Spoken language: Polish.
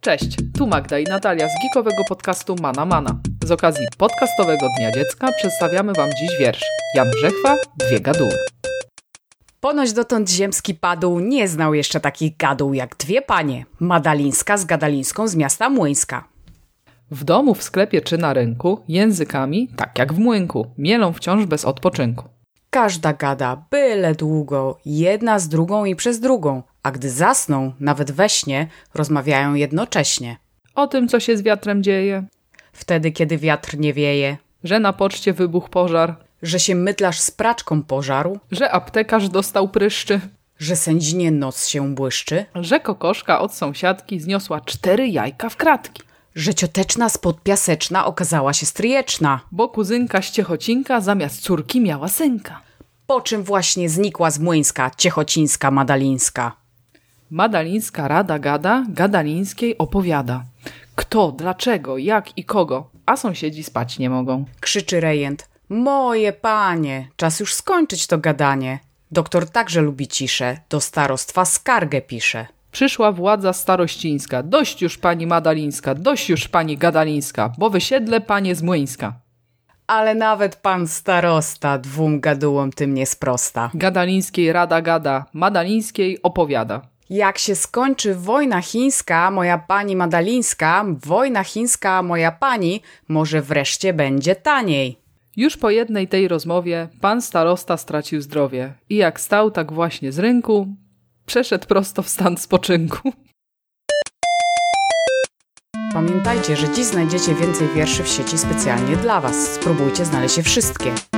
Cześć, tu Magda i Natalia z geekowego podcastu Mana Mana. Z okazji podcastowego Dnia Dziecka przedstawiamy Wam dziś wiersz Jan Brzechwa, Dwie gaduły. Ponoć dotąd ziemski padł nie znał jeszcze takich gaduł jak dwie panie, Madalińska z Gadalińską z miasta Młyńska. W domu, w sklepie czy na rynku, językami, tak jak w młynku, mielą wciąż bez odpoczynku. Każda gada byle długo, jedna z drugą i przez drugą, a gdy zasną, nawet we śnie, rozmawiają jednocześnie. O tym, co się z wiatrem dzieje, Wtedy, kiedy wiatr nie wieje, że na poczcie wybuchł pożar, że się mytlarz z praczką pożarł, że aptekarz dostał pryszczy, że sędzinie noc się błyszczy, że kokoszka od sąsiadki zniosła cztery jajka w kratki, że cioteczna spod piaseczna okazała się stryjeczna, bo kuzynka z ciechocinka zamiast córki miała synka. po czym właśnie znikła z Młyńska ciechocińska Madalińska. Madalińska Rada gada, gadalińskiej opowiada. Kto, dlaczego, jak i kogo, a sąsiedzi spać nie mogą. Krzyczy rejent. Moje panie, czas już skończyć to gadanie. Doktor także lubi ciszę, do starostwa skargę pisze. Przyszła władza starościńska, dość już pani Madalińska, dość już pani Gadalińska, bo wysiedle panie z Młyńska. Ale nawet pan starosta dwóm gadułom tym nie sprosta. Gadalińskiej Rada gada, Madalińskiej opowiada. Jak się skończy wojna chińska, moja pani Madalińska, wojna chińska, moja pani, może wreszcie będzie taniej. Już po jednej tej rozmowie pan starosta stracił zdrowie i jak stał tak właśnie z rynku, przeszedł prosto w stan spoczynku. Pamiętajcie, że dziś znajdziecie więcej wierszy w sieci specjalnie dla Was. Spróbujcie znaleźć je wszystkie.